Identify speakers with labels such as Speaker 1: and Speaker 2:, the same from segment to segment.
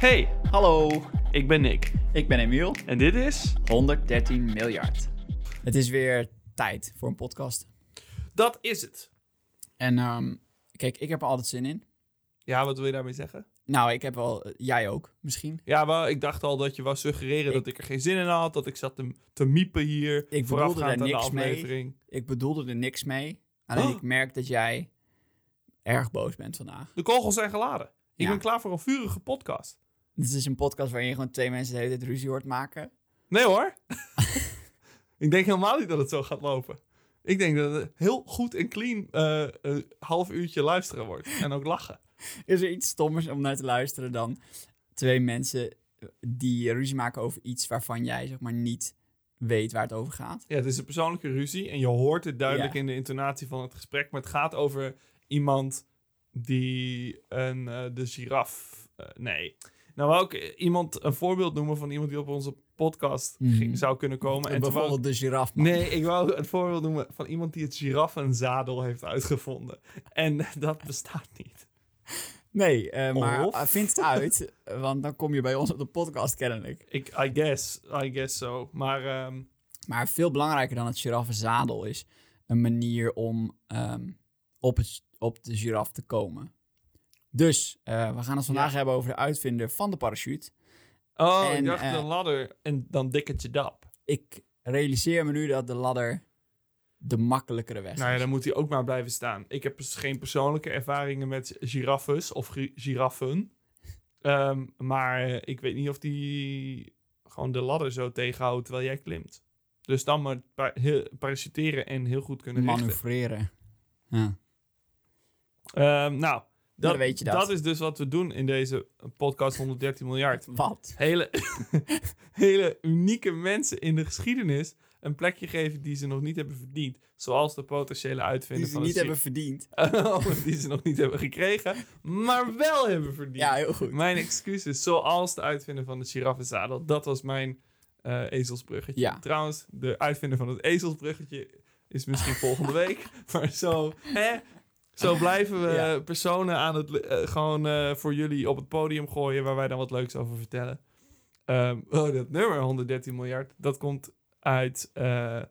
Speaker 1: Hey,
Speaker 2: Hallo,
Speaker 1: ik ben Nick
Speaker 2: ik ben Emiel.
Speaker 1: en dit is
Speaker 2: 113 miljard.
Speaker 3: Het is weer tijd voor een podcast.
Speaker 1: Dat is het.
Speaker 3: En ehm, kijk, ik heb er altijd zin in.
Speaker 1: Ja, wat wil je daarmee zeggen?
Speaker 3: Nou, ik heb wel, jij ook misschien.
Speaker 1: Ja, maar ik dacht al dat je wou suggereren dat ik er geen zin in had, dat ik zat te, te miepen hier
Speaker 3: bedoelde
Speaker 1: voorafgaand
Speaker 3: daar
Speaker 1: aan de
Speaker 3: niks mee.
Speaker 1: aflevering.
Speaker 3: Ik bedoelde er niks mee. Alleen
Speaker 1: Oh.
Speaker 3: ik merk dat jij erg boos bent vandaag.
Speaker 1: De kogels zijn geladen. Ik
Speaker 3: Ja.
Speaker 1: ben klaar voor een vurige podcast.
Speaker 3: Dit is een podcast waarin je gewoon twee mensen de hele tijd ruzie hoort maken.
Speaker 1: Nee hoor. ik denk helemaal niet dat het zo gaat lopen. Ik denk dat het heel goed en clean eh, een half uurtje luisteren wordt. En ook lachen.
Speaker 3: Is er iets stommers om naar te luisteren dan twee mensen eh, die ruzie maken over iets waarvan jij zeg maar niet weet waar het over gaat?
Speaker 1: Ja, het is een persoonlijke ruzie. En je hoort het duidelijk
Speaker 3: Ja.
Speaker 1: in de intonatie van het gesprek. Maar het gaat over iemand die een, eh, de giraf... eh, nee. Nou, wou ik eh, iemand een voorbeeld noemen van iemand die op onze podcast
Speaker 3: Mhm.
Speaker 1: ging- zou kunnen komen. En toen wou ik-
Speaker 3: bijvoorbeeld de giraf.
Speaker 1: Nee, ik wou het voorbeeld noemen van iemand die het giraffenzadel heeft uitgevonden. En dat bestaat niet.
Speaker 3: Nee, eh, maar
Speaker 1: Of?
Speaker 3: eh, vind het uit, eh, want dan kom je bij ons op de podcast kennelijk.
Speaker 1: Ik, I guess, I guess so. Maar ehm,
Speaker 3: Maar veel belangrijker dan het giraffenzadel is een manier om ehm, op, het, op de giraf te komen. Dus eh, we gaan het vandaag hebben over de uitvinder van de parachute.
Speaker 1: oh, ik
Speaker 3: En,
Speaker 1: dacht
Speaker 3: eh,
Speaker 1: een ladder en dan dik het je dap.
Speaker 3: Ik realiseer me nu dat de ladder de makkelijkere weg is.
Speaker 1: Nou ja, dan moet hij ook maar blijven staan. Ik heb dus geen persoonlijke ervaringen met giraffes of gi- giraffen. Ehm, maar eh, ik weet niet of die gewoon de ladder zo tegenhoudt terwijl jij klimt. Dus dan maar pa- heel- parachuteren en heel goed kunnen richten.
Speaker 3: Manoeuvreren. Ja.
Speaker 1: Ehm, nou, dat,
Speaker 3: dan weet je dat.
Speaker 1: is dus wat we doen in deze podcast 113 miljard.
Speaker 3: Wat?
Speaker 1: Hele, hele unieke mensen in de geschiedenis een plekje geven die ze nog niet hebben verdiend. Zoals de potentiële
Speaker 3: Die
Speaker 1: uitvinder
Speaker 3: ze
Speaker 1: van
Speaker 3: niet
Speaker 1: de
Speaker 3: hebben verdiend.
Speaker 1: hebben... Die ze nog niet hebben gekregen, maar wel hebben verdiend.
Speaker 3: Ja, heel goed.
Speaker 1: Mijn excuses, zoals de uitvinder van de giraffenzadel. Dat was mijn eh, ezelsbruggetje.
Speaker 3: Ja.
Speaker 1: Trouwens, de uitvinder van het ezelsbruggetje is misschien volgende week. Maar zo, hè, zo blijven we
Speaker 3: Ja.
Speaker 1: personen aan het, le- eh, gewoon eh, voor jullie op het podium gooien... waar wij dan wat leuks over vertellen. Ehm, oh, dat nummer 113 miljard, dat komt uit... eh,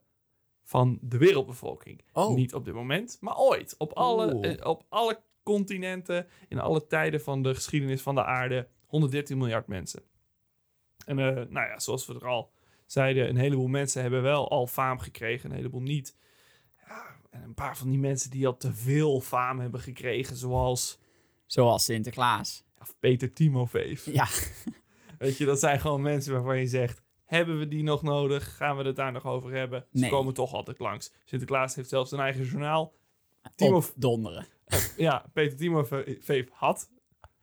Speaker 1: van de wereldbevolking.
Speaker 3: Oh.
Speaker 1: Niet op dit moment, maar ooit. Op alle,
Speaker 3: Oeh.
Speaker 1: eh, op alle continenten, in alle tijden van de geschiedenis van de aarde, 113 miljard mensen. En eh, nou ja, zoals we er al zeiden, een heleboel mensen hebben wel al faam gekregen, een heleboel niet. Ja, en een paar van die mensen die al te veel faam hebben gekregen, zoals
Speaker 3: Zoals Sinterklaas.
Speaker 1: ja, Peter Timofeef.
Speaker 3: Ja.
Speaker 1: Weet je, dat zijn gewoon mensen waarvan je zegt: hebben we die nog nodig? Gaan we het daar nog over hebben? Ze
Speaker 3: Nee.
Speaker 1: komen toch altijd langs. Sinterklaas heeft zelfs een eigen journaal. Timo,
Speaker 3: Op donderen.
Speaker 1: ja, Peter Timo Ve- Veef had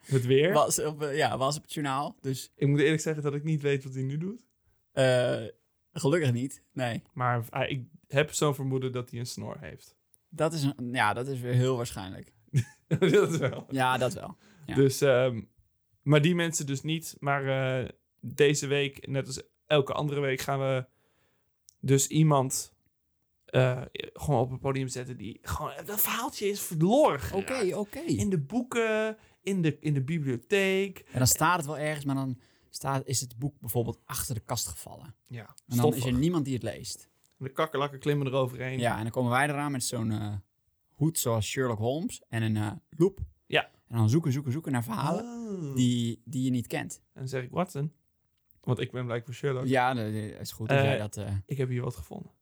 Speaker 1: het weer.
Speaker 3: Was op, eh, ja, was op het journaal. Dus
Speaker 1: Ik moet eerlijk zeggen dat ik niet weet wat hij nu doet.
Speaker 3: eh, gelukkig niet. Nee.
Speaker 1: Maar eh, ik heb zo'n vermoeden dat hij een snor heeft.
Speaker 3: Dat is, een- ja, dat is weer heel waarschijnlijk.
Speaker 1: dat wel.
Speaker 3: Ja, dat wel. Ja.
Speaker 1: Dus, ehm, maar die mensen dus niet. Maar eh, deze week, net als elke andere week, gaan we dus iemand eh, gewoon op het podium zetten die gewoon... Dat verhaaltje is verloren
Speaker 3: Oké,
Speaker 1: geraakt.
Speaker 3: oké.
Speaker 1: In de boeken, in de, in de bibliotheek.
Speaker 3: En dan staat het wel ergens, maar dan staat, is het boek bijvoorbeeld achter de kast gevallen.
Speaker 1: Ja,
Speaker 3: En dan is er niemand die het leest.
Speaker 1: De kakkerlakken klimmen eroverheen.
Speaker 3: Ja, en dan komen wij eraan met zo'n eh, hoed zoals Sherlock Holmes en een eh loop.
Speaker 1: Ja.
Speaker 3: En dan zoeken, zoeken, zoeken naar verhalen
Speaker 1: Oh.
Speaker 3: die, die je niet kent.
Speaker 1: En dan zeg ik, Watson, want ik ben blijkbaar Sherlock.
Speaker 3: Ja, dat dat is goed dat
Speaker 1: Eh,
Speaker 3: jij dat... eh,
Speaker 1: Ik heb hier wat gevonden.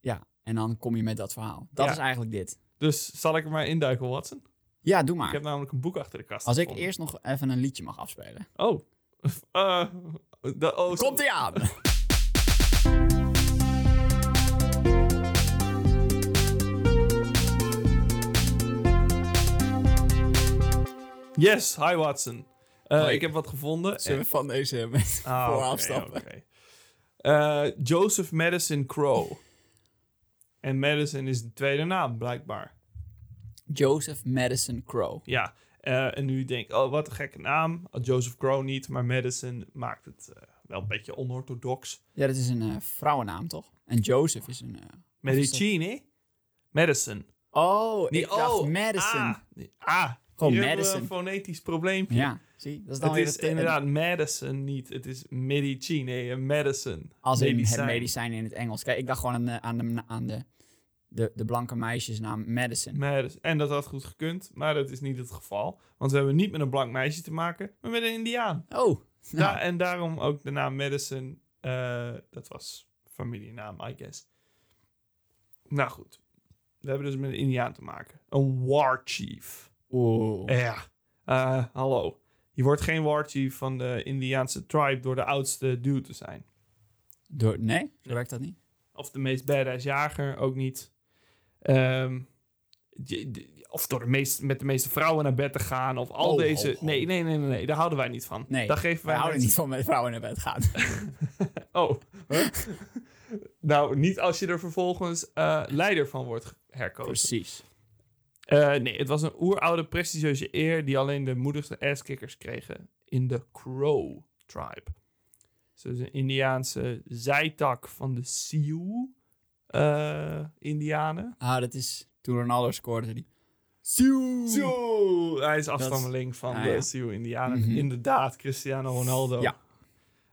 Speaker 3: ja, en dan kom je met dat verhaal. Dat
Speaker 1: Ja.
Speaker 3: is eigenlijk dit.
Speaker 1: Dus zal ik er maar induiken, Watson?
Speaker 3: Ja, doe
Speaker 1: Ik
Speaker 3: maar.
Speaker 1: heb namelijk een boek achter de kast
Speaker 3: Als ik
Speaker 1: gevonden.
Speaker 3: eerst nog even een liedje mag afspelen.
Speaker 1: Oh. Eh, da- oh,
Speaker 3: Komt ie aan!
Speaker 1: Yes, hi Watson. Eh,
Speaker 3: Hoi.
Speaker 1: ik heb wat gevonden.
Speaker 3: Zullen we van deze met
Speaker 1: Ah, oké,
Speaker 3: vooraf stappen?
Speaker 1: oké. Eh, Joseph Madison Crow. en Madison is de tweede naam, blijkbaar.
Speaker 3: Joseph Madison Crow.
Speaker 1: Ja, eh, en nu denk ik, oh, wat een gekke naam. Joseph Crow niet, maar Madison maakt het eh, wel een beetje onorthodox.
Speaker 3: Ja, dat is een eh, vrouwennaam, toch? En Joseph is een... eh,
Speaker 1: Medicine? Madison.
Speaker 3: Oh,
Speaker 1: Nee,
Speaker 3: ik dacht Madison.
Speaker 1: Ah, nee, ah,
Speaker 3: Gewoon
Speaker 1: Hier hebben we
Speaker 3: Oh, Madison.
Speaker 1: een fonetisch probleempje.
Speaker 3: Ja, zie, dat is dan
Speaker 1: Het
Speaker 3: weer
Speaker 1: is
Speaker 3: het- het-
Speaker 1: inderdaad Madison niet. Het is Medici. Nee, een Madison.
Speaker 3: Als in
Speaker 1: Medicijn.
Speaker 3: het medicijn in het Engels. Kijk, ik dacht gewoon aan de, aan de, aan de, de, de blanke meisjesnaam Madison.
Speaker 1: Madison. En dat had goed gekund, maar dat is niet het geval. Want we hebben niet met een blank meisje te maken, maar met een indiaan.
Speaker 3: Oh,
Speaker 1: Da- en daarom ook de naam Madison. eh, dat was familienaam, I guess. Nou goed. We hebben dus met een indiaan te maken. Een war chief.
Speaker 3: Oeh.
Speaker 1: Ja. Eh, hallo. Je wordt geen war chief van de indiaanse tribe door de oudste dude te zijn.
Speaker 3: Door, nee, zo werkt dat niet.
Speaker 1: Of de meest badass jager, ook niet. Ehm, je- de- of door de meest, met de meeste vrouwen naar bed te gaan. Of al
Speaker 3: Oh,
Speaker 1: deze...
Speaker 3: oh, oh.
Speaker 1: Nee, nee, nee, nee, nee, Daar houden wij niet van.
Speaker 3: Nee,
Speaker 1: Daar geven wij
Speaker 3: Wij houden
Speaker 1: mensen-
Speaker 3: niet van met vrouwen naar bed gaan.
Speaker 1: Oh. huh? nou, niet als je er vervolgens eh, leider van wordt ge- herkozen.
Speaker 3: Precies.
Speaker 1: Eh, nee, het was een oeroude prestigieuze eer die alleen de moedigste asskickers kregen in de Crow tribe. Dus dat is een Indiaanse zijtak van de Sioux eh, Indianen.
Speaker 3: Ah, dat is toen Ronaldo scoorde die. Sjoe!
Speaker 1: Sioux! Hij is afstammeling van
Speaker 3: Ah,
Speaker 1: de
Speaker 3: ja.
Speaker 1: Sioux Indianen.
Speaker 3: Mhm.
Speaker 1: Inderdaad, Cristiano Ronaldo.
Speaker 3: Ja.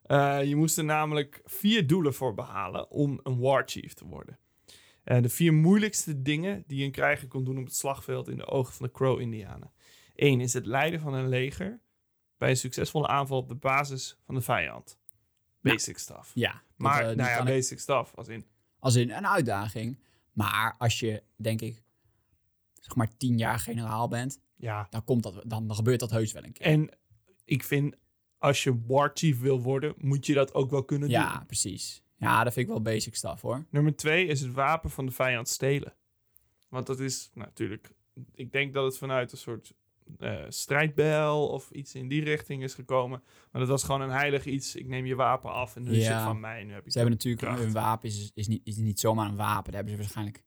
Speaker 1: Eh, je moest er namelijk vier doelen voor behalen om een war chief te worden. Eh, de vier moeilijkste dingen die een krijger kon doen op het slagveld in de ogen van de Crow-Indianen. Eén is het leiden van een leger bij een succesvolle aanval op de basis van de vijand. Basic stuff.
Speaker 3: Ja. dat,
Speaker 1: maar,
Speaker 3: eh, die
Speaker 1: nou ja,
Speaker 3: kan ik-
Speaker 1: basic stuff. Als in,
Speaker 3: als in een uitdaging. Maar als je, denk ik, zeg maar tien jaar generaal bent,
Speaker 1: ja,
Speaker 3: dan, komt dat, dan, dan gebeurt dat heus wel een keer.
Speaker 1: En ik vind, als je war chief wil worden, moet je dat ook wel kunnen
Speaker 3: ja,
Speaker 1: doen.
Speaker 3: precies. Ja, dat vind ik wel basic stuff hoor.
Speaker 1: Nummer twee is het wapen van de vijand stelen. Want dat is nou, natuurlijk, ik denk dat het vanuit een soort eh, strijdbel of iets in die richting is gekomen. Maar dat was gewoon een heilig iets. Ik neem je wapen af en nu is
Speaker 3: Ja.
Speaker 1: het van mij. Nu heb ik
Speaker 3: Ze hebben natuurlijk
Speaker 1: kracht.
Speaker 3: hun wapen is, is, niet, is niet zomaar een wapen. Daar hebben ze waarschijnlijk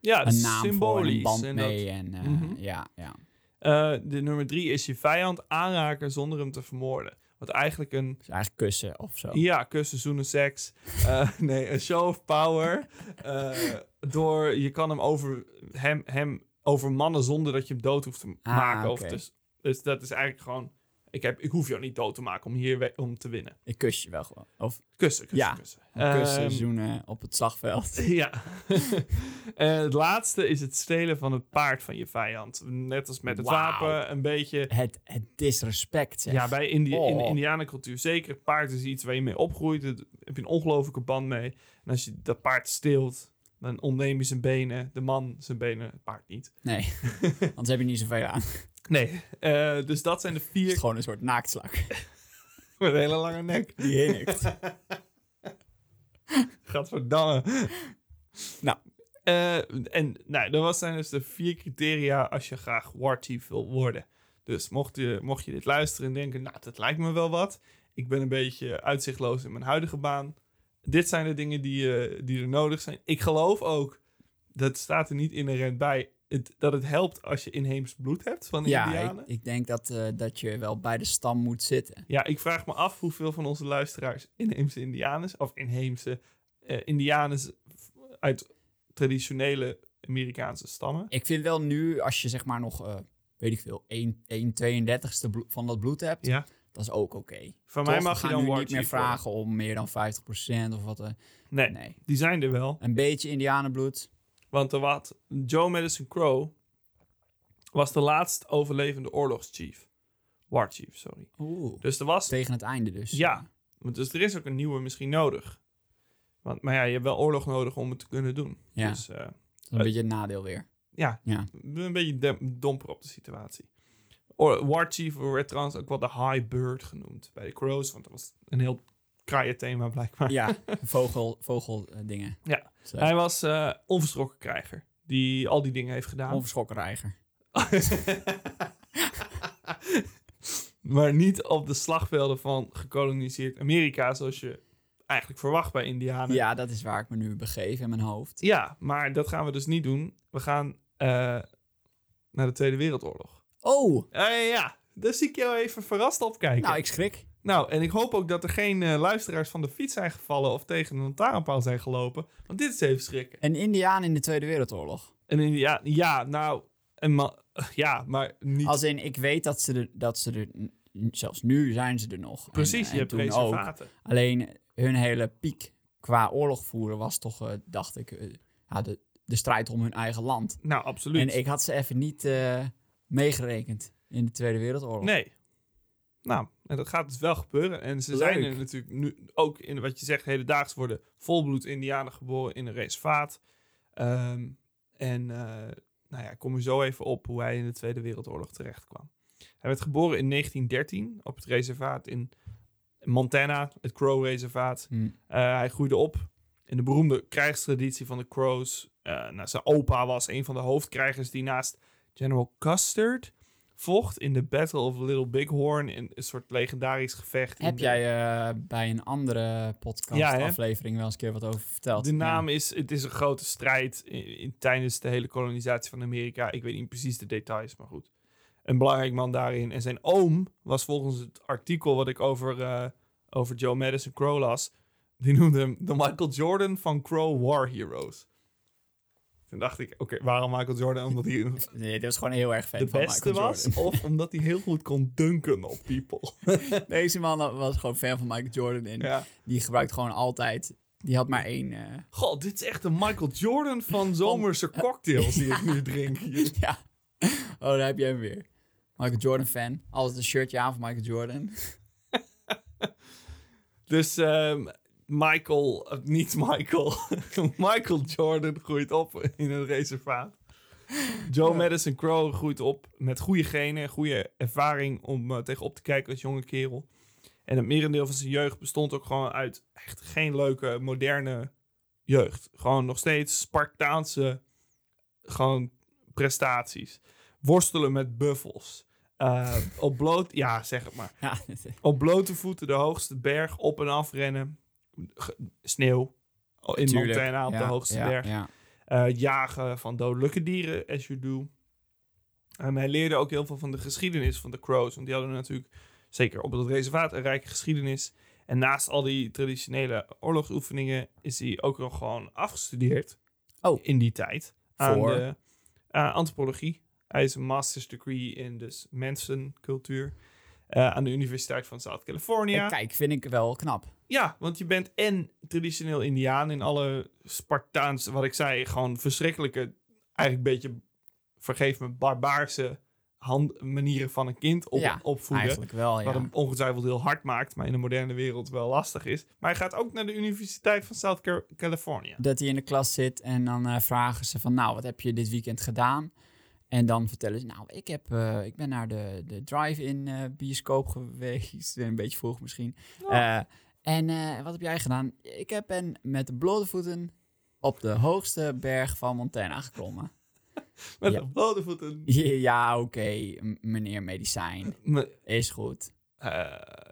Speaker 1: ja,
Speaker 3: een naam voor en
Speaker 1: symbolisch.
Speaker 3: een band
Speaker 1: en dat-
Speaker 3: mee. En, eh,
Speaker 1: Mhm.
Speaker 3: ja, ja.
Speaker 1: Eh, de nummer drie is je vijand aanraken zonder hem te vermoorden. Wat eigenlijk een
Speaker 3: Dus eigenlijk kussen of zo.
Speaker 1: Ja, kussen, zoenen, seks. Eh, nee, een show of power. Eh, door, je kan hem, over, hem, hem overmannen zonder dat je hem dood hoeft te
Speaker 3: Ah,
Speaker 1: maken. Of
Speaker 3: oké.
Speaker 1: dus, dus dat is eigenlijk gewoon... Ik, heb, ik hoef jou niet dood te maken om hier we- om te winnen.
Speaker 3: Ik kus je wel gewoon. Of
Speaker 1: Kussen, kussen,
Speaker 3: Ja,
Speaker 1: kussen.
Speaker 3: kussen,
Speaker 1: Ehm,
Speaker 3: zoenen op het slagveld.
Speaker 1: ja. en het laatste is het stelen van het paard van je vijand. Net als met het
Speaker 3: Wauw.
Speaker 1: wapen, een beetje...
Speaker 3: Het, het disrespect zeg.
Speaker 1: Ja, bij Indi in de
Speaker 3: Oh.
Speaker 1: indianencultuur zeker. Het paard is iets waar je mee opgroeit. Daar heb je een ongelofelijke band mee. En als je dat paard steelt, dan ontneem je zijn benen. De man zijn benen, het paard niet.
Speaker 3: Nee, anders heb je niet zoveel aan. Het
Speaker 1: Nee. Eh, dus dat zijn de
Speaker 3: is
Speaker 1: vier...
Speaker 3: gewoon een soort naaktslak.
Speaker 1: Met een hele lange nek.
Speaker 3: Die hinnikt.
Speaker 1: Gadverdamme.
Speaker 3: Nou.
Speaker 1: Eh, en nou, dat was- zijn dus de vier criteria als je graag war chief wil worden. Dus mocht je, mocht je dit luisteren en denken, nou, dat lijkt me wel wat. Ik ben een beetje uitzichtloos in mijn huidige baan. Dit zijn de dingen die, eh, die er nodig zijn. Ik geloof ook, dat staat er niet inherent bij, het, dat het helpt als je inheems bloed hebt van de
Speaker 3: ja,
Speaker 1: indianen.
Speaker 3: ik, ik denk dat, eh, dat je wel bij de stam moet zitten.
Speaker 1: Ja, ik vraag me af hoeveel van onze luisteraars inheemse indianers of inheemse eh indianers uit traditionele Amerikaanse stammen.
Speaker 3: Ik vind wel nu, als je zeg maar nog, eh, weet ik veel, 1, 1 32ste bloed- van dat bloed hebt,
Speaker 1: Ja.
Speaker 3: dat is ook oké.
Speaker 1: Van
Speaker 3: Toch?
Speaker 1: mij
Speaker 3: We
Speaker 1: mag je
Speaker 3: gaan
Speaker 1: dan
Speaker 3: nu
Speaker 1: war
Speaker 3: niet meer
Speaker 1: chief worden.
Speaker 3: vragen om meer dan 50% of wat. eh,
Speaker 1: Nee,
Speaker 3: nee.
Speaker 1: die zijn er wel.
Speaker 3: Een beetje indianenbloed.
Speaker 1: Want er wat, Joe Madison Crow was de laatst overlevende oorlogschief. War chief, sorry.
Speaker 3: Oeh.
Speaker 1: Dus er was...
Speaker 3: Tegen het einde dus.
Speaker 1: Ja, want dus er is ook een nieuwe misschien nodig. Want, maar ja, je hebt wel oorlog nodig om het te kunnen doen.
Speaker 3: Ja.
Speaker 1: Dus eh,
Speaker 3: Dat is Een beetje een nadeel weer.
Speaker 1: Ja,
Speaker 3: Ja.
Speaker 1: een beetje dem- domper op de situatie. Or, War Chief werd trouwens ook wel de High Bird genoemd bij de Crows, want dat was een heel kraaie thema blijkbaar.
Speaker 3: Ja, vogel, vogel eh, dingen.
Speaker 1: Ja.
Speaker 3: Zo.
Speaker 1: Hij was eh onverschrokken krijger, die al die dingen heeft gedaan.
Speaker 3: Onverschrokken reiger.
Speaker 1: maar niet op de slagvelden van gekoloniseerd Amerika, zoals je eigenlijk verwacht bij Indianen.
Speaker 3: Ja, dat is waar ik me nu begeef in mijn hoofd.
Speaker 1: Ja, maar dat gaan we dus niet doen. We gaan eh, naar de Tweede Wereldoorlog.
Speaker 3: Oh,
Speaker 1: Eh, ja, daar zie ik jou even verrast opkijken.
Speaker 3: nou ik schrik.
Speaker 1: Nou, en ik hoop ook dat er geen eh, luisteraars van de fiets zijn gevallen of tegen een lantaarnpaal zijn gelopen. Want dit is even schrikken.
Speaker 3: Een indiaan in de Tweede Wereldoorlog.
Speaker 1: En in, ja, ja, nou, En ma- ja, maar niet...
Speaker 3: Als in, ik weet dat ze er, dat ze er n- zelfs nu zijn ze er nog. En-
Speaker 1: precies,
Speaker 3: en
Speaker 1: je hebt
Speaker 3: toen ook.
Speaker 1: reservaten.
Speaker 3: Alleen hun hele piek qua oorlog voeren was toch, eh, dacht ik, eh, ja, de, de strijd om hun eigen land.
Speaker 1: Nou, absoluut.
Speaker 3: En ik had ze even niet eh, meegerekend in de Tweede Wereldoorlog.
Speaker 1: Nee. Nou, en dat gaat dus wel gebeuren. En ze
Speaker 3: Leuk.
Speaker 1: zijn er natuurlijk nu ook in wat je zegt, hedendaags worden volbloed Indianen geboren in een reservaat. Ehm, en eh, nou ja, ik kom er zo even op hoe hij in de Tweede Wereldoorlog terecht kwam. Hij werd geboren in 1913 op het reservaat in Montana, het Crow Reservaat.
Speaker 3: Hm.
Speaker 1: Eh, hij groeide op in de beroemde krijgstraditie van de Crows. Eh, nou, zijn opa was een van de hoofdkrijgers die naast General Custard vocht in de Battle of Little Bighorn. In een soort legendarisch gevecht. in
Speaker 3: Heb
Speaker 1: de-
Speaker 3: jij eh, bij een andere podcast
Speaker 1: Ja, hè?
Speaker 3: aflevering wel eens een keer wat over verteld?
Speaker 1: De
Speaker 3: Ja.
Speaker 1: naam is, het is een grote strijd in, in- tijdens de hele kolonisatie van Amerika. Ik weet niet precies de details, maar goed. Een belangrijk man daarin. En zijn oom was volgens het artikel wat ik over, eh, over Joe Madison Crow las. Die noemde hem de Michael Jordan van Crow War Heroes. Toen dacht ik, oké, waarom Michael Jordan? Omdat hij een-
Speaker 3: Nee, dit was gewoon heel erg fan
Speaker 1: de
Speaker 3: van
Speaker 1: beste
Speaker 3: Michael
Speaker 1: was?
Speaker 3: Jordan.
Speaker 1: Of omdat hij heel goed kon dunken op people?
Speaker 3: Deze man was gewoon fan van Michael Jordan en
Speaker 1: ja.
Speaker 3: die gebruikt gewoon altijd... Die had maar één... eh,
Speaker 1: God, dit is echt de Michael Jordan van zomerse cocktails die ik nu drink hier.
Speaker 3: ja. Oh, daar heb jij hem weer. Michael Jordan fan. Altijd een shirtje aan van Michael Jordan.
Speaker 1: Dus ehm, Michael, eh, niet Michael, Michael Jordan groeit op in een reservaat. Joe Madison Crow groeit op met goede genen, goede ervaring om eh, tegen op te kijken als jonge kerel. En het merendeel van zijn jeugd bestond ook gewoon uit echt geen leuke, moderne jeugd. Gewoon nog steeds Spartaanse gewoon prestaties. Worstelen met buffels. Eh, op bloot... Ja, zeg het maar
Speaker 3: Ja,
Speaker 1: op blote voeten de hoogste berg op en af rennen. Ge- Sneeuw Oh, in
Speaker 3: tuurlijk.
Speaker 1: Montana op
Speaker 3: Ja,
Speaker 1: de hoogste
Speaker 3: ja,
Speaker 1: berg.
Speaker 3: Ja.
Speaker 1: Eh, jagen van dodelijke dieren, as you do. En hij leerde ook heel veel van de geschiedenis van de Crows. Want die hadden natuurlijk, zeker op het reservaat, een rijke geschiedenis. En naast al die traditionele oorlogsoefeningen is hij ook nog gewoon afgestudeerd.
Speaker 3: Oh.
Speaker 1: In die tijd. Aan
Speaker 3: Voor?
Speaker 1: de aan antropologie. Hij is een master's degree in dus mensencultuur. eh, aan de Universiteit van South California.
Speaker 3: En Eh, Kijk, vind ik wel knap.
Speaker 1: Ja, want je bent en traditioneel Indiaan in alle Spartaanse, wat ik zei, gewoon verschrikkelijke, eigenlijk een beetje, vergeef me, barbaarse hand, manieren van een kind op,
Speaker 3: Ja,
Speaker 1: opvoeden.
Speaker 3: Eigenlijk wel, ja.
Speaker 1: Wat hem ongetwijfeld heel hard maakt, maar in de moderne wereld wel lastig is. Maar hij gaat ook naar de Universiteit van South Car- California.
Speaker 3: Dat hij in de klas zit en dan eh, vragen ze van, nou, wat heb je dit weekend gedaan? En dan vertellen ze, nou, ik, heb, eh, ik ben naar de, de drive-in eh, bioscoop geweest. Een beetje vroeg misschien. Eh, en eh, wat heb jij gedaan? Ik heb ben met de blote voeten op de hoogste berg van Montana geklommen.
Speaker 1: Met
Speaker 3: Ja.
Speaker 1: een blote voeten.
Speaker 3: ja, oké, m- meneer medicijn.
Speaker 1: Me-
Speaker 3: Is goed.
Speaker 1: eh,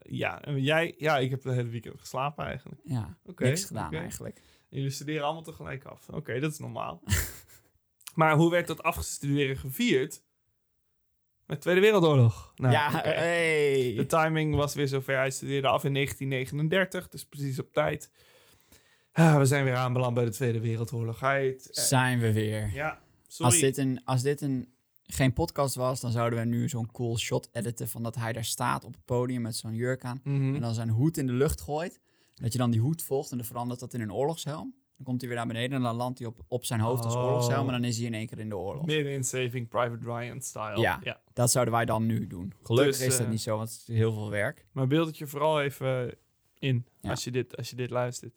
Speaker 1: ja, en jij, ja, ik heb het hele weekend geslapen eigenlijk.
Speaker 3: Ja,
Speaker 1: Oké,
Speaker 3: niks gedaan
Speaker 1: oké.
Speaker 3: eigenlijk.
Speaker 1: En jullie studeren allemaal tegelijk af. Oké, dat is normaal. maar hoe werd dat afstuderen gevierd? Met de Tweede Wereldoorlog. Nou,
Speaker 3: ja, eh,
Speaker 1: oké.
Speaker 3: hey.
Speaker 1: De timing was weer zover. Hij studeerde af in 1939, dus precies op tijd. Ah, we zijn weer aanbeland bij de Tweede Wereldoorlog. Hij, het- eh,
Speaker 3: zijn we weer.
Speaker 1: ja, sorry.
Speaker 3: Als dit, een, als dit een, geen podcast was, dan zouden we nu zo'n cool shot editen van dat hij daar staat op het podium met zo'n jurk aan.
Speaker 1: Mhm.
Speaker 3: En dan zijn hoed in de lucht gooit. Dat je dan die hoed volgt en dan verandert dat in een oorlogshelm. Dan komt hij weer naar beneden en dan landt hij op, op zijn hoofd als
Speaker 1: Oh.
Speaker 3: oorlogshelm. En dan is hij in één keer in de oorlog.
Speaker 1: Midden in Saving Private Ryan style.
Speaker 3: Ja. Dat zouden wij dan nu doen. Gelukkig
Speaker 1: Dus,
Speaker 3: is dat
Speaker 1: eh,
Speaker 3: niet zo, want het is heel veel werk.
Speaker 1: Maar beeld het je vooral even in
Speaker 3: Ja.
Speaker 1: als, je dit, als je dit luistert.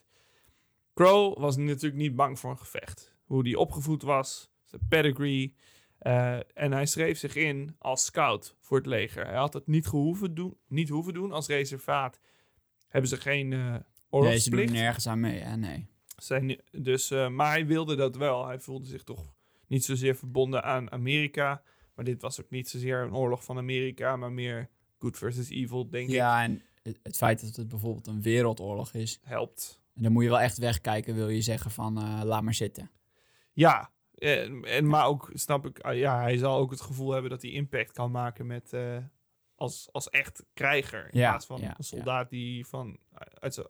Speaker 1: Crow was natuurlijk niet bang voor een gevecht. Hoe hij opgevoed was, zijn pedigree. eh, en hij schreef zich in als scout voor het leger. Hij had het niet, gehoeven doen, niet hoeven doen als reservaat. Hebben ze geen eh
Speaker 3: Nee, ze doen
Speaker 1: oorlogsplicht.
Speaker 3: nergens aan mee, hè? Nee.
Speaker 1: Zijn, dus, eh, maar hij wilde dat wel. Hij voelde zich toch niet zozeer verbonden aan Amerika. Maar dit was ook niet zozeer een oorlog van Amerika, maar meer good versus evil, denk ik,
Speaker 3: Ja, en het, het feit dat het bijvoorbeeld een wereldoorlog is,
Speaker 1: helpt.
Speaker 3: dan moet je wel echt wegkijken, wil je zeggen van eh, laat maar zitten.
Speaker 1: Ja, en, en, maar ook snap ik, ah, ja, hij zal ook het gevoel hebben dat hij impact kan maken met, eh, als, als echt krijger. In
Speaker 3: Ja,
Speaker 1: plaats van
Speaker 3: ja,
Speaker 1: een soldaat die van eh, uit zijn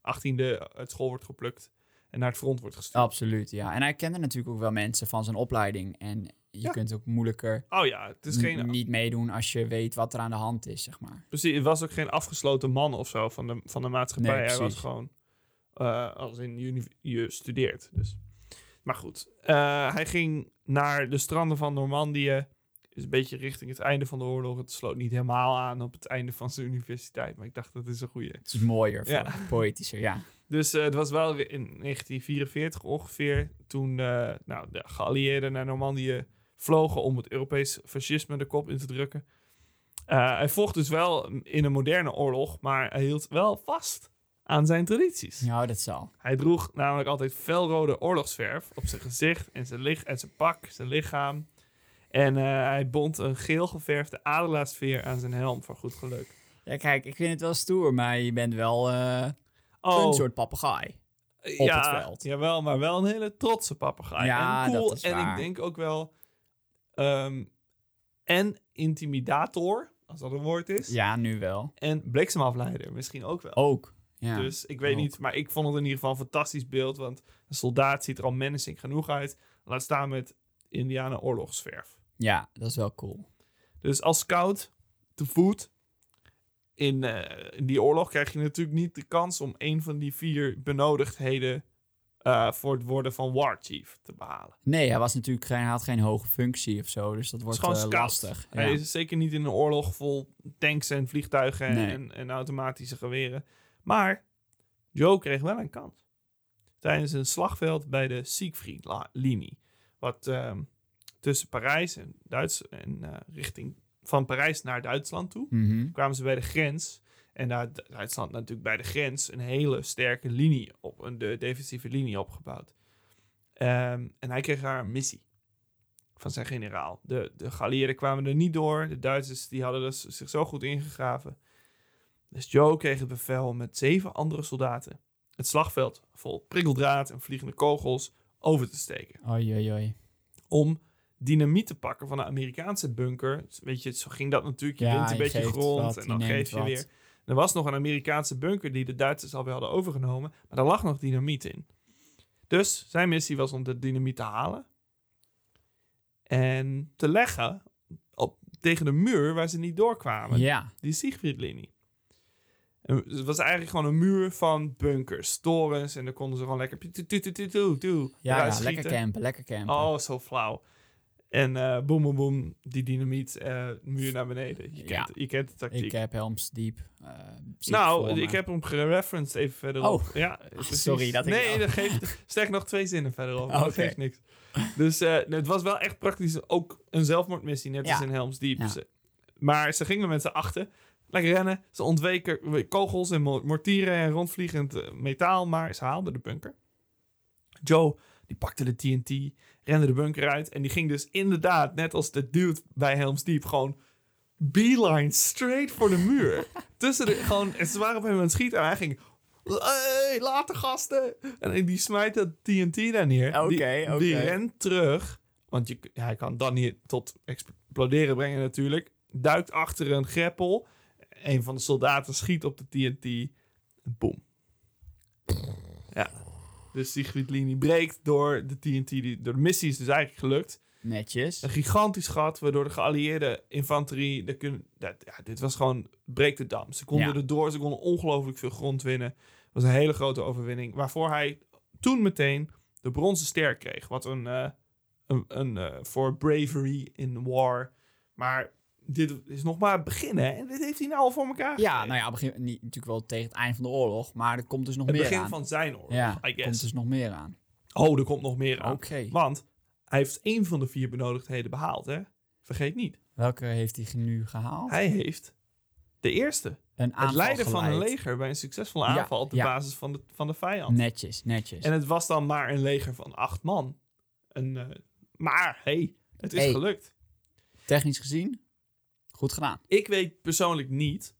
Speaker 1: achttiende uit school wordt geplukt en naar het front wordt gestuurd.
Speaker 3: Absoluut, ja. En hij kende natuurlijk ook wel mensen van zijn opleiding. En je
Speaker 1: Ja.
Speaker 3: kunt ook moeilijker
Speaker 1: Oh ja, het is
Speaker 3: n-
Speaker 1: geen...
Speaker 3: niet meedoen als je weet wat er aan de hand is, zeg maar.
Speaker 1: Precies, het was ook geen afgesloten man of zo van de, van de maatschappij.
Speaker 3: Nee,
Speaker 1: Hij was
Speaker 3: precies.
Speaker 1: gewoon eh, als in uni- je studeert. Dus. Maar goed, eh, hij ging naar de stranden van Normandië. Is een beetje richting het einde van de oorlog. Het sloot niet helemaal aan op het einde van zijn universiteit. Maar ik dacht, dat is een goede.
Speaker 3: Het is mooier,
Speaker 1: Ja.
Speaker 3: voor- poëtischer, ja.
Speaker 1: Dus eh, het was wel weer in 1944 ongeveer toen eh, nou, de geallieerden naar Normandië vlogen om het Europees fascisme de kop in te drukken. Eh, hij vocht dus wel in een moderne oorlog, maar hij hield wel vast aan zijn tradities.
Speaker 3: Nou, dat zal.
Speaker 1: Hij droeg namelijk altijd felrode oorlogsverf op zijn gezicht en zijn, lich en zijn pak, zijn lichaam. En eh, hij bond een geel geverfde adelaarsveer aan zijn helm voor goed geluk.
Speaker 3: Ja, kijk, ik vind het wel stoer, maar je bent wel eh,
Speaker 1: Oh,
Speaker 3: een soort papegaai. op
Speaker 1: ja,
Speaker 3: het veld.
Speaker 1: Jawel, maar wel een hele trotse papegaai.
Speaker 3: Ja,
Speaker 1: en cool.
Speaker 3: dat is
Speaker 1: en ik
Speaker 3: waar.
Speaker 1: denk ook wel... ehm, en intimidator, als dat een woord is.
Speaker 3: Ja, nu wel.
Speaker 1: En bliksemafleider misschien ook wel.
Speaker 3: Ook. Ja.
Speaker 1: dus ik weet
Speaker 3: ook.
Speaker 1: niet, maar ik vond het in ieder geval een fantastisch beeld. Want een soldaat ziet er al menacing genoeg uit. Laat staan met Indianen oorlogsverf.
Speaker 3: ja, dat is wel cool.
Speaker 1: Dus als scout, te voet, in, eh, in die oorlog krijg je natuurlijk niet de kans om een van die vier benodigdheden eh, voor het worden van war chief te behalen.
Speaker 3: Nee, hij was natuurlijk geen, hij had geen hoge functie of zo, dus
Speaker 1: Het
Speaker 3: dat
Speaker 1: is
Speaker 3: wordt
Speaker 1: gewoon
Speaker 3: eh,
Speaker 1: scout.
Speaker 3: lastig. Ja.
Speaker 1: Hij is zeker niet in een oorlog vol tanks en vliegtuigen en,
Speaker 3: Nee.
Speaker 1: en, en automatische geweren. Maar Joe kreeg wel een kans. Tijdens een slagveld bij de Siegfried-linie. Wat ehm, tussen Parijs en, Duits en eh, richting van Parijs naar Duitsland toe.
Speaker 3: Mhm.
Speaker 1: kwamen ze bij de grens. En daar had Duitsland natuurlijk bij de grens een hele sterke linie op, een de defensieve linie opgebouwd. Ehm, en hij kreeg daar een missie van zijn generaal. De, de Galliëren kwamen er niet door. De Duitsers die hadden dus zich zo goed ingegraven. Dus Joe kreeg het bevel om met zeven andere soldaten het slagveld vol prikkeldraad en vliegende kogels over te steken
Speaker 3: Oei, oei, oei.
Speaker 1: om dynamiet te pakken van een Amerikaanse bunker. Weet je, zo ging dat natuurlijk. Je
Speaker 3: Ja,
Speaker 1: wint een
Speaker 3: je
Speaker 1: beetje
Speaker 3: geeft
Speaker 1: grond
Speaker 3: wat,
Speaker 1: en
Speaker 3: je
Speaker 1: dan
Speaker 3: neemt
Speaker 1: geef je
Speaker 3: wat.
Speaker 1: weer. Er was nog een Amerikaanse bunker die de Duitsers alweer hadden overgenomen, maar daar lag nog dynamiet in. Dus zijn missie was om de dynamiet te halen en te leggen op, tegen de muur waar ze niet doorkwamen
Speaker 3: Ja,
Speaker 1: die Siegfriedlinie. En Het was eigenlijk gewoon een muur van bunkers, torens. En daar konden ze gewoon lekker... tu- tu- tu- tu- tu- tu- tu
Speaker 3: ja,
Speaker 1: eruit
Speaker 3: ja lekker
Speaker 1: schieten.
Speaker 3: campen, lekker campen.
Speaker 1: Oh, zo flauw. En eh boem, boem, boem, die dynamiet, eh, muur naar beneden. Je,
Speaker 3: Ja.
Speaker 1: kent, je kent de tactiek.
Speaker 3: ik heb Helms Diep. eh, ziek voor
Speaker 1: nou,
Speaker 3: me.
Speaker 1: ik heb hem gereferenced even verderop.
Speaker 3: Oh.
Speaker 1: ja, precies.
Speaker 3: sorry dat ik
Speaker 1: Nee,
Speaker 3: dat-
Speaker 1: dat geeft... Sterk nog twee zinnen verderop, maar dat
Speaker 3: Oké.
Speaker 1: geeft niks. Dus eh, het was wel echt praktisch ook een zelfmoordmissie, net
Speaker 3: Ja.
Speaker 1: als in Helms Deep.
Speaker 3: Ja.
Speaker 1: Ze- Maar ze gingen met z'n achten. Lekker rennen. Ze ontweken eh, kogels en mo- mortieren en rondvliegend eh, metaal. Maar ze haalden de bunker. Joe, die pakte de TNT, rende de bunker uit. En die ging dus inderdaad, net als de dude bij Helms Deep, gewoon beeline straight voor de muur. Tussen de, gewoon, en ze waren op hem aan het schieten. En hij ging, hey, later gasten. En die smijt dat TNT daar neer.
Speaker 3: Oké,
Speaker 1: die,
Speaker 3: oké.
Speaker 1: die rent terug. Want je, hij kan dan niet tot exploderen brengen natuurlijk. Duikt achter een greppel. Een van de soldaten schiet op de TNT. Boom. Ja. Dus Siegfriedlinie breekt door de TNT. Die, door de missie is dus eigenlijk gelukt.
Speaker 3: Netjes.
Speaker 1: Een gigantisch gat, waardoor de geallieerde infanterie... De kun, dat, ja, dit was gewoon, breekt de dam. Ze konden
Speaker 3: Ja.
Speaker 1: er door, ze konden ongelooflijk veel grond winnen. Het was een hele grote overwinning. Waarvoor hij toen meteen de bronzen ster kreeg. Wat een, eh, een, een eh, voor bravery in war. Maar dit is nog maar het begin, hè? En dit heeft hij nou al voor elkaar
Speaker 3: Ja,
Speaker 1: gekregen.
Speaker 3: nou ja, begin, niet, natuurlijk wel tegen het eind van de oorlog, maar er komt dus nog
Speaker 1: Het
Speaker 3: meer
Speaker 1: begin
Speaker 3: aan.
Speaker 1: van zijn oorlog,
Speaker 3: ja,
Speaker 1: I
Speaker 3: er
Speaker 1: guess.
Speaker 3: komt dus nog meer aan.
Speaker 1: Oh, er komt nog meer
Speaker 3: Oké.
Speaker 1: aan. Want hij heeft één van de vier benodigdheden behaald, hè? Vergeet niet.
Speaker 3: Welke heeft hij nu gehaald?
Speaker 1: Hij heeft de eerste
Speaker 3: een aanval
Speaker 1: het leiden van een
Speaker 3: geleid.
Speaker 1: leger bij een succesvolle
Speaker 3: Ja,
Speaker 1: aanval op de
Speaker 3: ja.
Speaker 1: basis van de, van de vijand.
Speaker 3: Netjes, netjes.
Speaker 1: En het was dan maar een leger van acht man. Een, eh, maar hey, het is
Speaker 3: Hey.
Speaker 1: gelukt.
Speaker 3: Technisch gezien, goed gedaan.
Speaker 1: Ik weet persoonlijk niet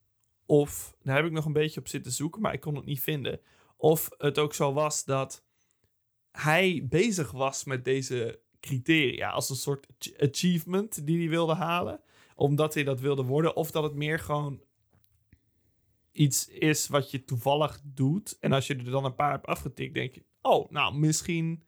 Speaker 1: of, daar heb ik nog een beetje op zitten zoeken, maar ik kon het niet vinden. Of het ook zo was dat hij bezig was met deze criteria als een soort ach- achievement die hij wilde halen, omdat hij dat wilde worden, of dat het meer gewoon iets is wat je toevallig doet. En als je er dan een paar hebt afgetikt, denk je, oh, nou, misschien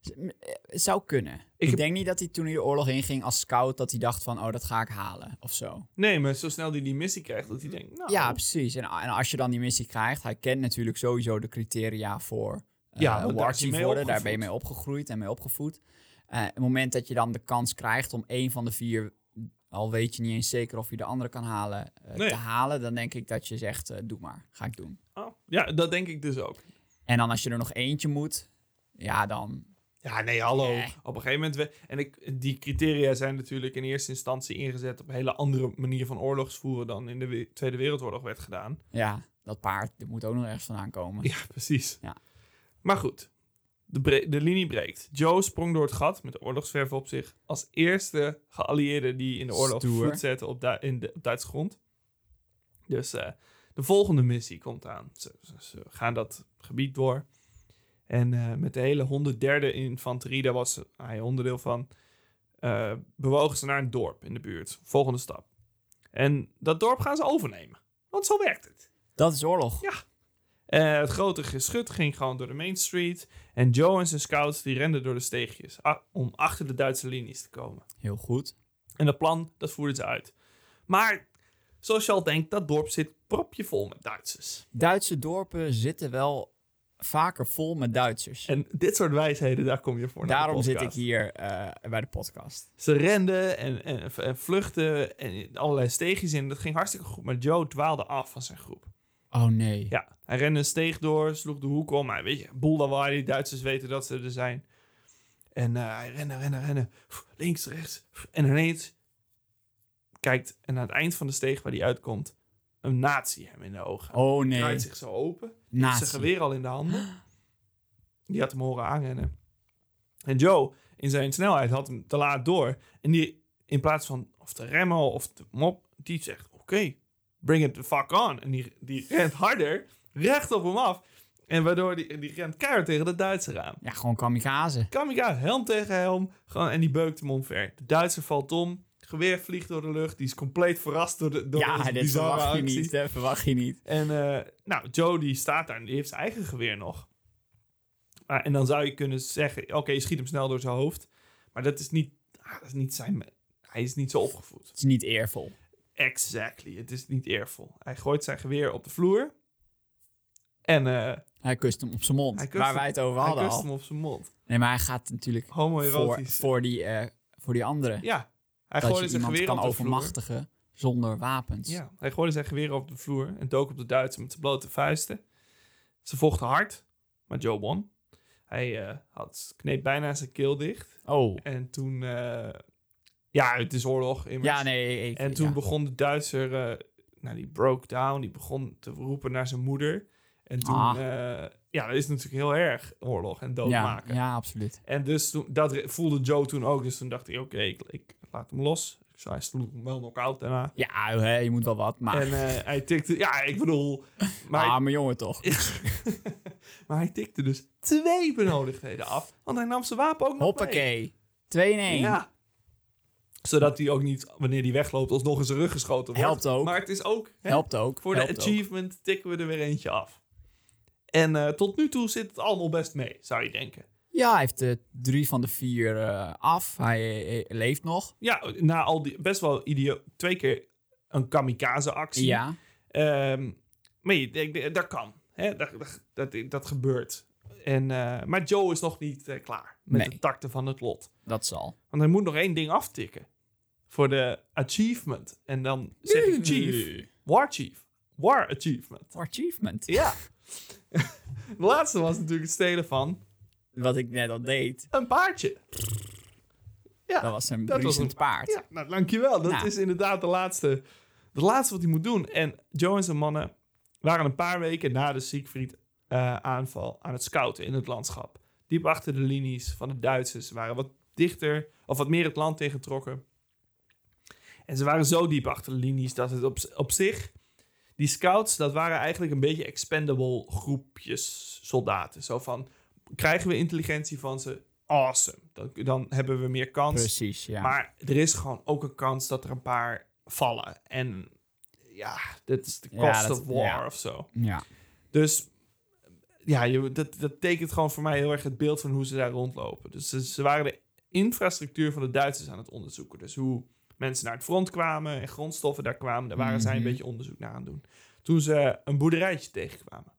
Speaker 3: Z- m- eh, Het zou kunnen. Ik,
Speaker 1: heb-
Speaker 3: denk niet dat hij toen hij de oorlog inging als scout, dat hij dacht van, oh, dat ga ik halen of zo.
Speaker 1: Nee, maar zo snel die die missie krijgt, dat hij denkt, nou...
Speaker 3: Ja, precies. En, en als je dan die missie krijgt, hij kent natuurlijk sowieso de criteria voor eh
Speaker 1: Ja, want daar is
Speaker 3: war
Speaker 1: hij
Speaker 3: chief
Speaker 1: mee
Speaker 3: worden. Daar ben je
Speaker 1: opgevoed.
Speaker 3: mee opgegroeid en mee opgevoed. Eh, het moment dat je dan de kans krijgt om één van de vier, al weet je niet eens zeker of je de andere kan halen, eh,
Speaker 1: Nee.
Speaker 3: te halen, dan denk ik dat je zegt, eh, doe maar, ga ik doen.
Speaker 1: oh, ja, dat denk ik dus ook.
Speaker 3: En dan als je er nog eentje moet, ja, dan
Speaker 1: Ja, nee, hallo.
Speaker 3: Eh.
Speaker 1: Op een gegeven moment... We, en ik, die criteria zijn natuurlijk in eerste instantie ingezet... op een hele andere manier van oorlogsvoeren... dan in de we- Tweede Wereldoorlog werd gedaan.
Speaker 3: Ja, dat paard dat moet ook nog ergens vandaan komen.
Speaker 1: Ja, precies.
Speaker 3: Ja.
Speaker 1: Maar goed, de, bre- de linie breekt. Joe sprong door het gat met de oorlogsverf op zich. Als eerste geallieerde die in de oorlog
Speaker 3: Stoer.
Speaker 1: voet zette op, Du- in de, op Duitse grond. Dus eh, de volgende missie komt aan. Ze, ze- ze gaan dat gebied door. En eh, met de hele 103e infanterie, daar was hij onderdeel van, eh, bewogen ze naar een dorp in de buurt. Volgende stap. En dat dorp gaan ze overnemen. Want zo werkt het.
Speaker 3: Dat is oorlog.
Speaker 1: Ja. Eh, het grote geschut ging gewoon door de Main Street. En Joe en zijn scouts die renden door de steegjes a- om achter de Duitse linies te komen.
Speaker 3: Heel goed.
Speaker 1: En dat plan, dat voerden ze uit. Maar zoals je al denkt, dat dorp zit propje vol met Duitsers.
Speaker 3: Duitse dorpen zitten wel vaker vol met Duitsers.
Speaker 1: En dit soort wijsheden, daar kom je voor. naar de
Speaker 3: Daarom zit ik
Speaker 1: podcast.
Speaker 3: hier eh, bij de podcast.
Speaker 1: Ze renden en, en, en vluchten en allerlei steegjes in. Dat ging hartstikke goed, maar Joe dwaalde af van zijn groep.
Speaker 3: Oh nee.
Speaker 1: Ja, hij rende een steeg door, sloeg de hoek om. Hij, weet je, Boulderwaai, die Duitsers weten dat ze er zijn. En eh, hij rende, rende, rende. Pff, Links, rechts. Pff, En ineens kijkt en aan het eind van de steeg waar hij uitkomt... een nazi hem in de ogen.
Speaker 3: Oh
Speaker 1: Hij
Speaker 3: nee.
Speaker 1: draait zich zo open. Met zijn
Speaker 3: Nazi.
Speaker 1: geweer al in de handen. Die had hem horen aanrennen. En Joe, in zijn snelheid, had hem te laat door. En die, in plaats van of te remmen of te mop, die zegt: Oké, bring it the fuck on. En die, die rent harder, recht op hem af. En waardoor die, die rent keihard tegen de Duitser aan.
Speaker 3: Ja, gewoon kamikaze.
Speaker 1: Kamikaze, helm tegen helm. Gewoon, en die beukt hem omver. De Duitser valt om. Het geweer vliegt door de lucht. Die is compleet verrast door de door
Speaker 3: Ja,
Speaker 1: deze
Speaker 3: dit
Speaker 1: bizarre
Speaker 3: verwacht je
Speaker 1: actie.
Speaker 3: niet. Hè? Verwacht je niet.
Speaker 1: En eh, nou, Joe die staat daar en die heeft zijn eigen geweer nog. Maar, en dan zou je kunnen zeggen, oké, je schiet hem snel door zijn hoofd. Maar dat is niet, ah, dat is niet zijn... Hij is niet zo opgevoed.
Speaker 3: Het is niet eervol.
Speaker 1: Exactly, het is niet eervol. Hij gooit zijn geweer op de vloer. En eh,
Speaker 3: Hij kust hem op zijn mond,
Speaker 1: Hij kust
Speaker 3: waar
Speaker 1: hem-
Speaker 3: wij het over
Speaker 1: hij
Speaker 3: hadden
Speaker 1: kust
Speaker 3: al.
Speaker 1: hem op zijn mond.
Speaker 3: Nee, maar hij gaat natuurlijk voor,
Speaker 1: Homoerotisch.
Speaker 3: voor, die, eh, voor die andere.
Speaker 1: Ja, hij
Speaker 3: dat
Speaker 1: gooide
Speaker 3: je
Speaker 1: zijn
Speaker 3: iemand
Speaker 1: geweer
Speaker 3: kan
Speaker 1: op de vloer.
Speaker 3: overmachtigen zonder wapens.
Speaker 1: Ja, hij gooide zijn geweer op de vloer en dook op de Duitsers met zijn blote vuisten. Ze vochten hard, maar Joe won. Hij eh, had, kneep bijna zijn keel dicht.
Speaker 3: Oh.
Speaker 1: En toen... eh, ja, het is oorlog immers.
Speaker 3: Ja, nee. Ik,
Speaker 1: En toen
Speaker 3: ja.
Speaker 1: begon de Duitser... eh, nou, die broke down. Die begon te roepen naar zijn moeder. En toen...
Speaker 3: Ah.
Speaker 1: eh, ja, dat is natuurlijk heel erg oorlog en
Speaker 3: ja,
Speaker 1: doodmaken.
Speaker 3: ja, absoluut.
Speaker 1: En dus toen, dat re- voelde Joe toen ook. Dus toen dacht hij, oké, ik, ik laat hem los. Ik zou, hij sloeg hem wel knock-out daarna.
Speaker 3: Ja, hè, je moet wel wat, maar...
Speaker 1: En eh, hij tikte, ja, ik bedoel. Maar,
Speaker 3: ah, mijn jongen toch.
Speaker 1: maar hij tikte dus twee benodigdheden af. Want hij nam zijn wapen ook nog
Speaker 3: Hoppakee. 2 in
Speaker 1: mee.
Speaker 3: 1.
Speaker 1: Ja. Zodat hij ook niet, wanneer hij wegloopt, alsnog in zijn rug geschoten wordt.
Speaker 3: Helpt ook.
Speaker 1: Maar het is ook, hè,
Speaker 3: Helpt ook.
Speaker 1: voor
Speaker 3: helpt
Speaker 1: de
Speaker 3: ook.
Speaker 1: achievement tikken we er weer eentje af. En eh, tot nu toe zit het allemaal best mee, zou je denken.
Speaker 3: Ja, hij heeft eh, drie van de vier eh, af. Hij eh, eh, leeft nog.
Speaker 1: Ja, na al die, best wel idioot, twee keer een kamikaze actie.
Speaker 3: Ja.
Speaker 1: Ehm, maar je denkt, eh, dat kan. Hè? Dat, dat, dat, dat gebeurt. En, eh, maar Joe is nog niet eh, klaar met
Speaker 3: Nee.
Speaker 1: de takten van het lot.
Speaker 3: Dat zal.
Speaker 1: Want hij moet nog één ding aftikken. Voor de achievement. En dan zeg ik chief. War chief. War achievement.
Speaker 3: Voor achievement.
Speaker 1: Ja. de laatste was natuurlijk het stelen van
Speaker 3: Wat ik net al deed,
Speaker 1: een paardje. Ja,
Speaker 3: dat was een
Speaker 1: dat was
Speaker 3: bruisend
Speaker 1: een-
Speaker 3: paard.
Speaker 1: Ja, nou, dankjewel. Dat
Speaker 3: Nou.
Speaker 1: is inderdaad de laatste, de laatste wat hij moet doen. En Joe en zijn mannen waren een paar weken na de Siegfried-aanval aan het scouten in het landschap. Diep achter de linies van de Duitsers waren wat dichter, of wat meer het land tegengetrokken. En ze waren zo diep achter de linies dat het op, op zich... Die scouts, dat waren eigenlijk een beetje expendable groepjes soldaten. Zo van, krijgen we intelligentie van ze? Awesome. Dan, dan hebben we meer kans.
Speaker 3: Precies, ja.
Speaker 1: Maar er is gewoon ook een kans dat er een paar vallen. En ja, dit is de
Speaker 3: Ja,
Speaker 1: cost
Speaker 3: dat-
Speaker 1: of war
Speaker 3: ja.
Speaker 1: of zo.
Speaker 3: ja.
Speaker 1: Dus ja, je, dat, dat tekent gewoon voor mij heel erg het beeld van hoe ze daar rondlopen. Dus ze, ze waren de infrastructuur van de Duitsers aan het onderzoeken. Dus hoe mensen naar het front kwamen en grondstoffen daar kwamen, daar waren zij een
Speaker 3: Mhm.
Speaker 1: beetje onderzoek naar aan het doen. Toen ze een boerderijtje tegenkwamen.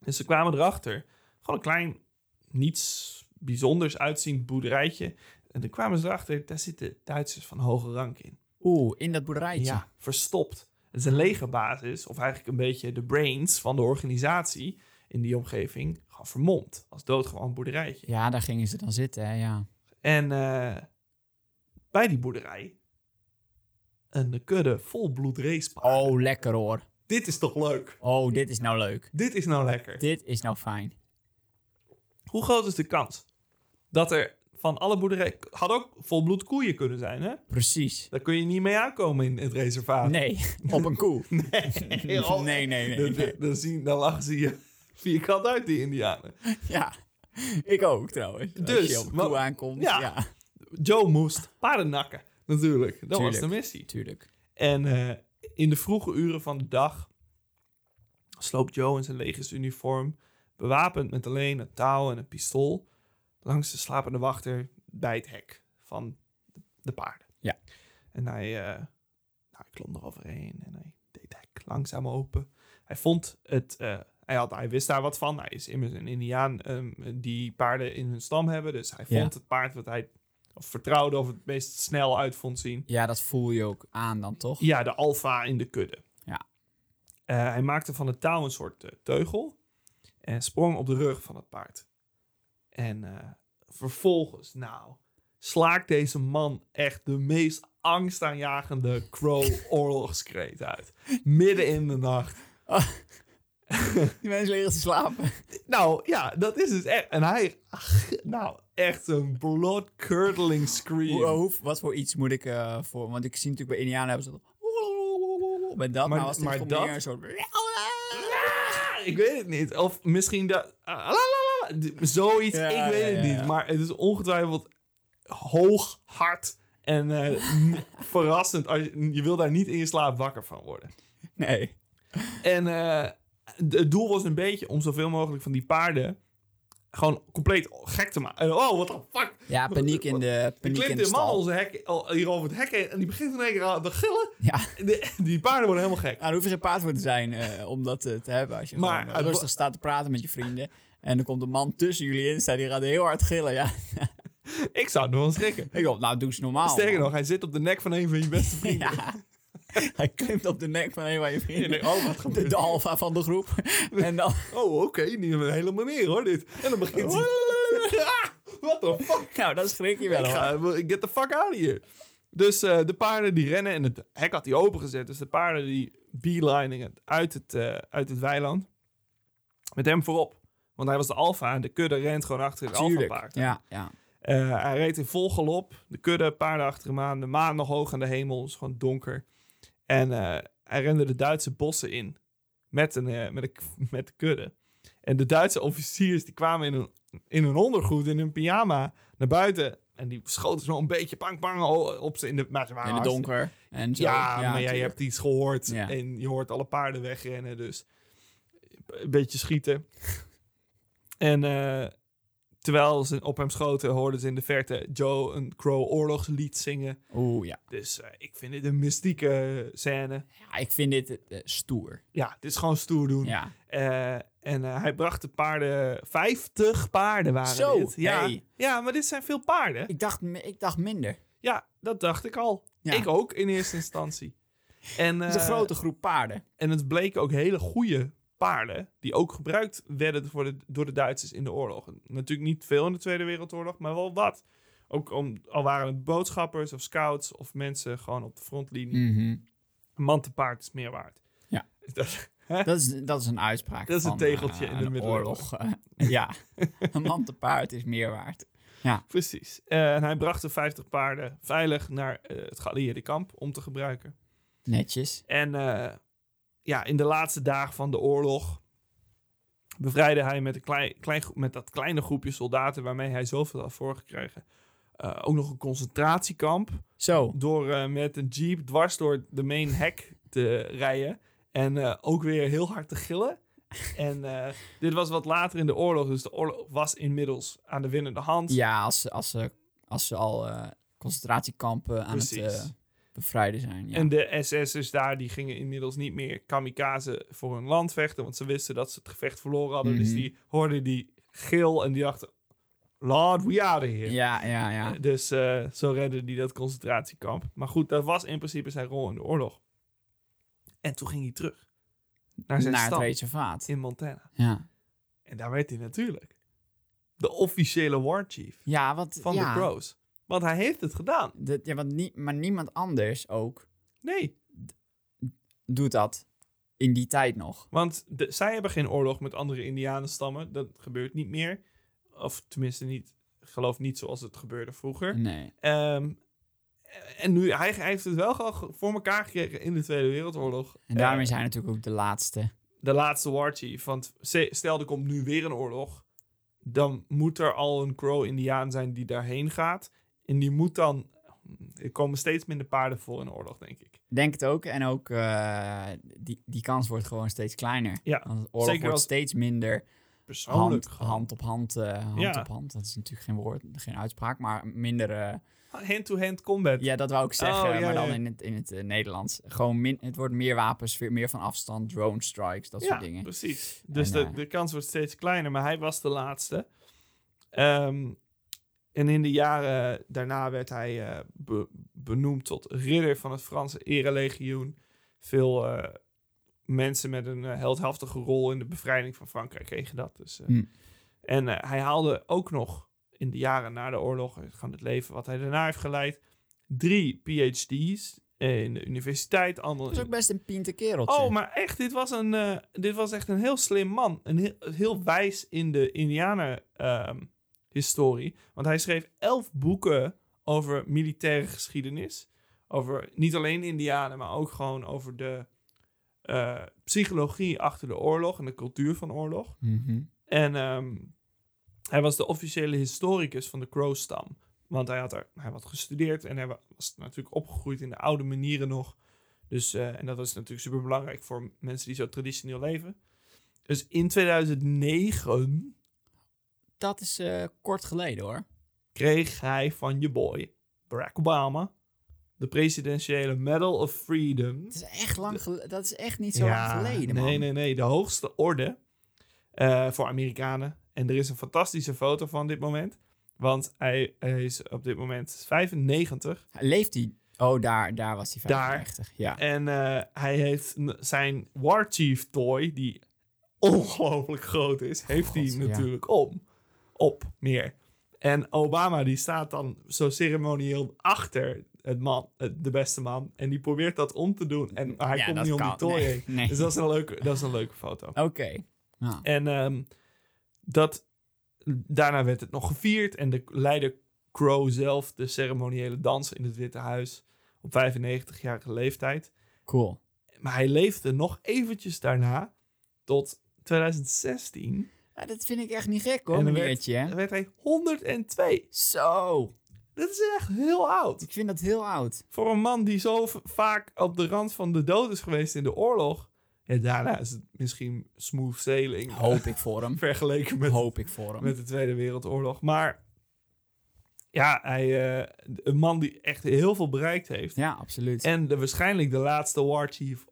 Speaker 1: Dus ze kwamen erachter, gewoon een klein, niets bijzonders uitziend boerderijtje. En toen kwamen ze erachter, daar zitten Duitsers van hoge rank in.
Speaker 3: Oeh, in dat boerderijtje.
Speaker 1: Ja, verstopt. Het is een legerbasis, of eigenlijk een beetje de brains van de organisatie in die omgeving, gewoon vermomd. Als doodgewoon boerderijtje.
Speaker 3: Ja, daar gingen ze dan zitten, hè, ja.
Speaker 1: En eh, bij die boerderij een kudde vol bloedreespaarden.
Speaker 3: Oh, lekker hoor.
Speaker 1: Dit is toch leuk?
Speaker 3: Oh, dit is nou leuk.
Speaker 1: Dit is nou lekker.
Speaker 3: Dit is nou fijn.
Speaker 1: Hoe groot is de kans dat er van alle boerderijen... Had ook volbloed koeien kunnen zijn, hè?
Speaker 3: Precies.
Speaker 1: Daar kun je niet mee aankomen in het reservaat.
Speaker 3: Nee, op een koe.
Speaker 1: Nee,
Speaker 3: oh. Nee, nee, nee,
Speaker 1: Dan-
Speaker 3: nee.
Speaker 1: Dan, zien, dan lachen ze je vierkant uit, die indianen.
Speaker 3: Ja. Ik ook trouwens. Als
Speaker 1: Dus,
Speaker 3: je op een
Speaker 1: wat-
Speaker 3: koe aankomt.
Speaker 1: ja.
Speaker 3: Ja.
Speaker 1: Joe moest paarden nakken, natuurlijk. Dat was
Speaker 3: Tuurlijk.
Speaker 1: de missie.
Speaker 3: tuurlijk.
Speaker 1: En eh, in de vroege uren van de dag sloopt Joe in zijn legersuniform, bewapend met alleen een touw en een pistool, langs de slapende wachter bij het hek van de paarden.
Speaker 3: Ja.
Speaker 1: En hij, eh, nou, hij klom eroverheen en hij deed het hek langzaam open. Hij vond het, eh, hij, had, hij wist daar wat van. Hij is immers een indiaan ehm, die paarden in hun stam hebben. Dus hij
Speaker 3: Ja.
Speaker 1: vond het paard wat hij of vertrouwde of het meest snel uit vond zien.
Speaker 3: Ja, dat voel je ook aan dan, toch?
Speaker 1: Ja, de alfa in de kudde.
Speaker 3: Ja.
Speaker 1: Eh, hij maakte van het touw een soort eh, teugel en sprong op de rug van het paard. En eh, vervolgens, nou, slaakt deze man echt de meest angstaanjagende crow-oorlogskreet uit. Midden in de nacht.
Speaker 3: Die mensen liggen te slapen.
Speaker 1: Nou ja, dat is dus echt. En hij, nou, echt een blood-curdling scream.
Speaker 3: Hoe, eh, hoe- wat voor iets moet ik eh, voor... Want ik zie natuurlijk bij Indianen hebben ze dat... Bij dat,
Speaker 1: Maar-
Speaker 3: maar, was dit
Speaker 1: maar
Speaker 3: gewoon
Speaker 1: dat-
Speaker 3: meer een soort...
Speaker 1: Ah, Ik weet het niet. Of misschien dat. ah, la, la, la, d- Zoiets,
Speaker 3: Ja,
Speaker 1: ik weet
Speaker 3: ja,
Speaker 1: het
Speaker 3: ja,
Speaker 1: niet.
Speaker 3: ja.
Speaker 1: Maar het is ongetwijfeld hoog, hard en eh, m- verrassend. Als je, je wil daar niet in je slaap wakker van worden.
Speaker 3: Nee.
Speaker 1: En eh, d- het doel was een beetje om zoveel mogelijk van die paarden gewoon compleet gek te maken. En, Oh, what the fuck.
Speaker 3: Ja, paniek in de,
Speaker 1: Er
Speaker 3: paniek in
Speaker 1: klimt
Speaker 3: de
Speaker 1: een man
Speaker 3: stal.
Speaker 1: onze hek, al- hier over het hek heen en die begint in één keer aan te gillen.
Speaker 3: Ja.
Speaker 1: De- die paarden worden helemaal gek.
Speaker 3: Nou, daar hoef je geen paard voor te zijn eh, om dat eh, te hebben. Als je
Speaker 1: Maar
Speaker 3: gewoon, eh,
Speaker 1: het wa-
Speaker 3: rustig staat te praten met je vrienden. En er komt een man tussen jullie in staan, die gaat heel hard gillen. Ja.
Speaker 1: Ik zou het nog wel schrikken.
Speaker 3: Ik dacht, nou, doe eens normaal.
Speaker 1: Sterker
Speaker 3: man.
Speaker 1: nog, hij zit op de nek van een van je beste vrienden.
Speaker 3: Ja. Hij klimt op de nek van een van je
Speaker 1: Je denkt,
Speaker 3: vrienden.
Speaker 1: oh, wat
Speaker 3: de,
Speaker 1: gebeurt
Speaker 3: de alfa van de groep. en dan...
Speaker 1: Oh, oké, niet op een hele manier hoor, dit. En dan begint hij... Ah, What the fuck?
Speaker 3: Nou, dat schrik je wel,
Speaker 1: Ik
Speaker 3: hoor.
Speaker 1: ga, get the fuck out of here. Dus eh, de paarden die rennen en het hek had hij opengezet. Dus de paarden die beeliningen uit het, eh, uit het weiland. Met hem voorop. Want hij was de alfa en de kudde rent gewoon achter het alfa
Speaker 3: Tuurlijk.
Speaker 1: paard.
Speaker 3: Ja, ja.
Speaker 1: Eh, hij reed in vol galop. De kudde, paarden achter hem aan. De maan nog hoog aan de hemel. Het is gewoon donker. En eh, hij rende de Duitse bossen in. Met, een, eh, met, een, met de kudde. En de Duitse officiers die kwamen in hun, in hun ondergoed, in hun pyjama, naar buiten. En die schoten zo een beetje pang pang o- op ze in de... Maar ze waren
Speaker 3: In het
Speaker 1: hartstikke-
Speaker 3: donker. En zo.
Speaker 1: ja, maar jij
Speaker 3: tuurlijk.
Speaker 1: hebt iets gehoord
Speaker 3: Ja.
Speaker 1: en je hoort alle paarden wegrennen, dus een beetje schieten. en eh, terwijl ze op hem schoten, hoorden ze in de verte Joe een Crow oorlogslied zingen.
Speaker 3: Oeh, ja.
Speaker 1: Dus eh, ik vind dit een mystieke scène.
Speaker 3: ja. Ik vind dit eh, stoer.
Speaker 1: Ja, dit is gewoon stoer doen.
Speaker 3: Ja.
Speaker 1: Eh, en eh, hij bracht de paarden, 50 paarden waren
Speaker 3: Zo,
Speaker 1: dit. Ja,
Speaker 3: hey.
Speaker 1: ja, maar dit zijn veel paarden.
Speaker 3: Ik dacht, mi- ik dacht minder.
Speaker 1: Ja, dat dacht ik al.
Speaker 3: Ja.
Speaker 1: Ik ook in eerste instantie. En,
Speaker 3: Het is een
Speaker 1: eh,
Speaker 3: grote groep paarden.
Speaker 1: En het bleken ook hele goede paarden. die ook gebruikt werden voor de, door de Duitsers in de oorlog. Natuurlijk niet veel in de Tweede Wereldoorlog, maar wel wat. Ook om, al waren het boodschappers of scouts. of mensen gewoon op de frontlinie.
Speaker 3: Mhm.
Speaker 1: Een man te paard is meer waard.
Speaker 3: Ja.
Speaker 1: Dat-
Speaker 3: Dat is, dat is een uitspraak.
Speaker 1: Dat is een
Speaker 3: van,
Speaker 1: tegeltje
Speaker 3: eh,
Speaker 1: in de
Speaker 3: een
Speaker 1: middeleeuwen.
Speaker 3: oorlog. eh, ja, een man te paard is meer waard.
Speaker 1: precies. Eh, en hij bracht de 50 paarden veilig naar eh, het geallieerde kamp om te gebruiken.
Speaker 3: Netjes.
Speaker 1: En eh, ja, in de laatste dagen van de oorlog bevrijdde hij met, een klein, klein, gro- met dat kleine groepje soldaten waarmee hij zoveel had voorgekregen. eh, ook nog een concentratiekamp.
Speaker 3: Zo.
Speaker 1: Door eh, met een jeep dwars door de main hek te rijden. En eh, ook weer heel hard te gillen. En eh, dit was wat later in de oorlog, dus de oorlog was inmiddels aan de winnende hand.
Speaker 3: Ja, als, ze- als, ze, als ze al eh, concentratiekampen aan het
Speaker 1: Precies.
Speaker 3: eh, bevrijden zijn. Ja.
Speaker 1: En de SS'ers daar, die gingen inmiddels niet meer kamikaze voor hun land vechten, want ze wisten dat ze het gevecht verloren hadden. Dus
Speaker 3: Mhm.
Speaker 1: die hoorden die gil en die dachten, Lord, we are here.
Speaker 3: ja, ja, ja.
Speaker 1: Dus eh, zo redde die dat concentratiekamp. Maar goed, dat was in principe zijn rol in de oorlog. En toen ging hij terug naar zijn
Speaker 3: Naar het
Speaker 1: stad
Speaker 3: reservaat.
Speaker 1: in Montana.
Speaker 3: Ja,
Speaker 1: En daar werd hij natuurlijk de officiële war chief
Speaker 3: ja wat...
Speaker 1: van
Speaker 3: ja,
Speaker 1: de Crows. Want hij heeft het gedaan.
Speaker 3: dat- ja, want nie, maar niemand anders ook
Speaker 1: Nee,
Speaker 3: doet dat in die tijd nog.
Speaker 1: want de- zij hebben geen oorlog met andere indianenstammen. Dat gebeurt niet meer. Of tenminste niet, ik geloof niet zoals het gebeurde vroeger.
Speaker 3: Nee.
Speaker 1: Ehm, en nu, hij, hij heeft het wel ge- voor elkaar gekregen in de Tweede Wereldoorlog.
Speaker 3: En daarom
Speaker 1: Eh,
Speaker 3: is hij natuurlijk ook de laatste.
Speaker 1: de laatste war chief. Want se- stel, er komt nu weer een oorlog. Dan moet er al een Crow-Indiaan zijn die daarheen gaat. En die moet dan... Er komen steeds minder paarden voor in de oorlog, denk ik.
Speaker 3: Denk het ook. En ook eh, die, die kans wordt gewoon steeds kleiner.
Speaker 1: Ja,
Speaker 3: Want het oorlog
Speaker 1: zeker
Speaker 3: wordt
Speaker 1: als-
Speaker 3: steeds minder hand,
Speaker 1: Persoonlijk.
Speaker 3: hand op hand. eh, hand
Speaker 1: Ja.
Speaker 3: op hand. Dat is natuurlijk geen woord, geen uitspraak. Maar minder... eh,
Speaker 1: Hand-to-hand combat.
Speaker 3: Ja, dat wou ik zeggen,
Speaker 1: Oh, ja,
Speaker 3: maar dan
Speaker 1: ja.
Speaker 3: in het, in het eh, Nederlands. Gewoon min, het wordt meer wapens, weer meer van afstand, drone strikes, dat soort dingen.
Speaker 1: precies. Dus
Speaker 3: En,
Speaker 1: de,
Speaker 3: eh,
Speaker 1: de kans wordt steeds kleiner, maar hij was de laatste. Ehm, en in de jaren daarna werd hij eh, be- benoemd tot ridder van het Franse Erelegioen. Veel eh, mensen met een eh, heldhaftige rol in de bevrijding van Frankrijk kregen dat. Dus, eh.
Speaker 3: Hm.
Speaker 1: En eh, hij haalde ook nog in de jaren na de oorlog, eh, gewoon het leven wat hij daarna heeft geleid, drie PhD's in de universiteit.
Speaker 3: Dat is
Speaker 1: Andere,
Speaker 3: ook best een piente kereltje.
Speaker 1: Oh, maar echt, dit was, een, eh, dit was echt een heel slim man. Een heel, heel wijs in de Indianen-historie. Want hij schreef elf boeken over militaire geschiedenis. Over niet alleen Indianen, maar ook gewoon over de eh, psychologie achter de oorlog en de cultuur van oorlog.
Speaker 3: Mhm.
Speaker 1: En ehm, hij was de officiële historicus van de Crow-stam. Want hij had, er, hij had gestudeerd en hij wa- was natuurlijk opgegroeid in de oude manieren nog. Dus, eh, en dat was natuurlijk super belangrijk voor mensen die zo traditioneel leven. Dus in 2009
Speaker 3: Dat is eh, kort geleden hoor.
Speaker 1: kreeg hij van je boy, Barack Obama, de presidentiële Medal of Freedom.
Speaker 3: Dat is echt, lang gel- dat is echt niet zo lang geleden, man.
Speaker 1: Nee, nee, nee. De hoogste orde eh, voor Amerikanen. En er is een fantastische foto van dit moment. Want hij, hij is op dit moment 95.
Speaker 3: Leeft hij? Oh, daar, daar was hij
Speaker 1: Daar.
Speaker 3: 95. Ja.
Speaker 1: En eh, hij heeft n- zijn War Chief toy, die ongelooflijk groot is, heeft hij
Speaker 3: God, ja.
Speaker 1: natuurlijk om. Op, meer. En Obama die staat dan zo ceremonieel achter het man, het- de beste man. En die probeert dat om te doen. En maar hij
Speaker 3: Ja,
Speaker 1: komt
Speaker 3: dat
Speaker 1: niet om
Speaker 3: kan-
Speaker 1: die toy
Speaker 3: nee,
Speaker 1: heen.
Speaker 3: nee.
Speaker 1: Dus dat is een leuke, dat is een leuke foto.
Speaker 3: Oké. Ja.
Speaker 1: En ehm, dat, daarna werd het nog gevierd. En de leider Crow zelf de ceremoniële dans in het Witte Huis op 95-jarige leeftijd.
Speaker 3: Cool.
Speaker 1: Maar hij leefde nog eventjes daarna tot 2016.
Speaker 3: Maar dat vind ik echt niet gek hoor,
Speaker 1: En dan
Speaker 3: meneertje. hè?
Speaker 1: Dan werd hij 102.
Speaker 3: Zo.
Speaker 1: Dat is echt heel oud.
Speaker 3: Ik vind dat heel oud.
Speaker 1: Voor een man die zo v- vaak op de rand van de dood is geweest in de oorlog. Ja, daarna is het misschien smooth sailing.
Speaker 3: Hoop ik voor hem.
Speaker 1: Vergeleken met
Speaker 3: Hoop ik voor hem.
Speaker 1: met de Tweede Wereldoorlog. Maar ja, hij, eh, een man die echt heel veel bereikt heeft.
Speaker 3: Ja, absoluut.
Speaker 1: En de, waarschijnlijk de laatste war chief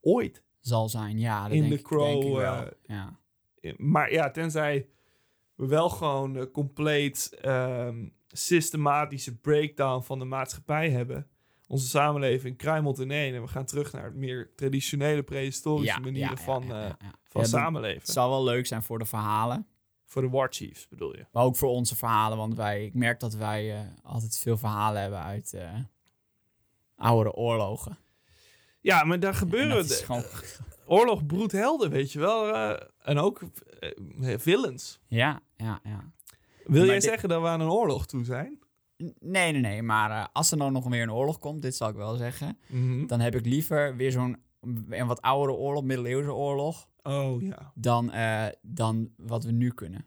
Speaker 1: ooit.
Speaker 3: Zal zijn, ja. Dat
Speaker 1: In
Speaker 3: denk
Speaker 1: de
Speaker 3: ik- denk ik
Speaker 1: Crow,
Speaker 3: wel.
Speaker 1: eh,
Speaker 3: ja.
Speaker 1: Maar ja, tenzij we wel gewoon een compleet ehm, systematische breakdown van de maatschappij hebben. Onze samenleving kruimelt ineen en we gaan terug naar het meer traditionele prehistorische manieren van,
Speaker 3: ja,
Speaker 1: eh,
Speaker 3: ja, ja.
Speaker 1: van
Speaker 3: Ja, dat-
Speaker 1: samenleven.
Speaker 3: Het zal wel leuk zijn voor de verhalen,
Speaker 1: Voor de war chiefs bedoel je?
Speaker 3: maar ook voor onze verhalen. Want wij, ik merk dat wij eh, altijd veel verhalen hebben uit eh oude oorlogen.
Speaker 1: Ja, maar daar
Speaker 3: En
Speaker 1: gebeuren...
Speaker 3: dat is
Speaker 1: de-
Speaker 3: gewoon-
Speaker 1: oorlog broedt helden, weet je wel. eh, en ook eh, villains.
Speaker 3: ja, ja, ja.
Speaker 1: Wil
Speaker 3: Maar
Speaker 1: jij
Speaker 3: dit-
Speaker 1: zeggen dat we aan een oorlog toe zijn?
Speaker 3: N- Nee, nee, nee. Maar eh, als er dan nog weer een oorlog komt, dit zal ik wel zeggen, dan heb ik liever weer zo'n een wat oudere oorlog, middeleeuwse oorlog,
Speaker 1: Oh ja.
Speaker 3: dan, eh, dan wat we nu kunnen.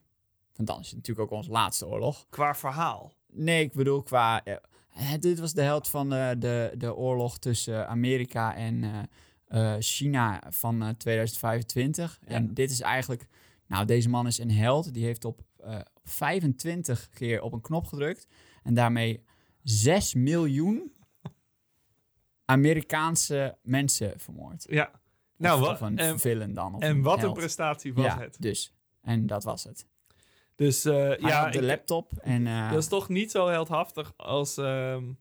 Speaker 3: Want dan is het natuurlijk ook onze laatste oorlog.
Speaker 1: Qua verhaal.
Speaker 3: Nee, ik bedoel qua... eh, het- dit was de held van eh, de, de oorlog tussen Amerika en eh, eh, China van eh, 2025.
Speaker 1: Ja.
Speaker 3: En dit is eigenlijk, nou, deze man is een held. Die heeft op eh, 25 keer op een knop gedrukt en daarmee 6 miljoen Amerikaanse mensen vermoord.
Speaker 1: Ja. Nou,
Speaker 3: Of
Speaker 1: wat,
Speaker 3: een
Speaker 1: en,
Speaker 3: villain dan. Of
Speaker 1: en wat een
Speaker 3: held.
Speaker 1: prestatie was
Speaker 3: ja,
Speaker 1: het.
Speaker 3: dus. En dat was het.
Speaker 1: Dus eh,
Speaker 3: Hij
Speaker 1: ja,
Speaker 3: had de
Speaker 1: ik-
Speaker 3: laptop en... eh,
Speaker 1: dat is toch niet zo heldhaftig als, ehm,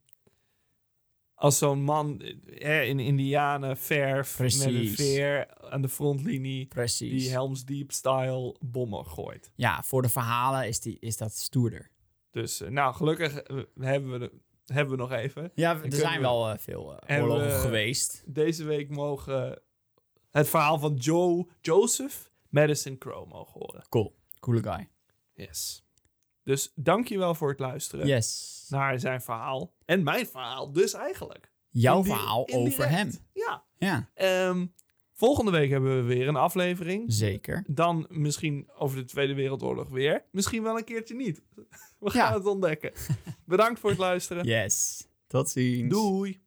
Speaker 1: als zo'n man eh, in Indianen verf met een
Speaker 3: Precies.
Speaker 1: veer aan de frontlinie
Speaker 3: precies.
Speaker 1: die Helms Deep-style bommen gooit.
Speaker 3: Ja, voor de verhalen is, die, is dat stoerder.
Speaker 1: Dus eh, nou, gelukkig eh, hebben we, de- hebben we nog even.
Speaker 3: Ja, er
Speaker 1: kunnen
Speaker 3: zijn
Speaker 1: we-
Speaker 3: wel eh, veel eh,
Speaker 1: En we-
Speaker 3: oorlogen geweest.
Speaker 1: Deze week mogen het verhaal van Joe Joseph Madison Crow mogen horen.
Speaker 3: Cool. Coole guy.
Speaker 1: Yes. Dus dankjewel voor het luisteren
Speaker 3: Yes.
Speaker 1: naar zijn verhaal. En mijn verhaal dus eigenlijk.
Speaker 3: Jouw
Speaker 1: Indi-
Speaker 3: verhaal
Speaker 1: indirect.
Speaker 3: over hem.
Speaker 1: Ja.
Speaker 3: Ja,
Speaker 1: Ehm, volgende week hebben we weer een aflevering.
Speaker 3: zeker.
Speaker 1: Dan misschien over de Tweede Wereldoorlog weer. Misschien wel een keertje niet. We gaan
Speaker 3: Ja.
Speaker 1: het ontdekken. Bedankt voor het luisteren.
Speaker 3: Yes. Tot ziens.
Speaker 1: Doei.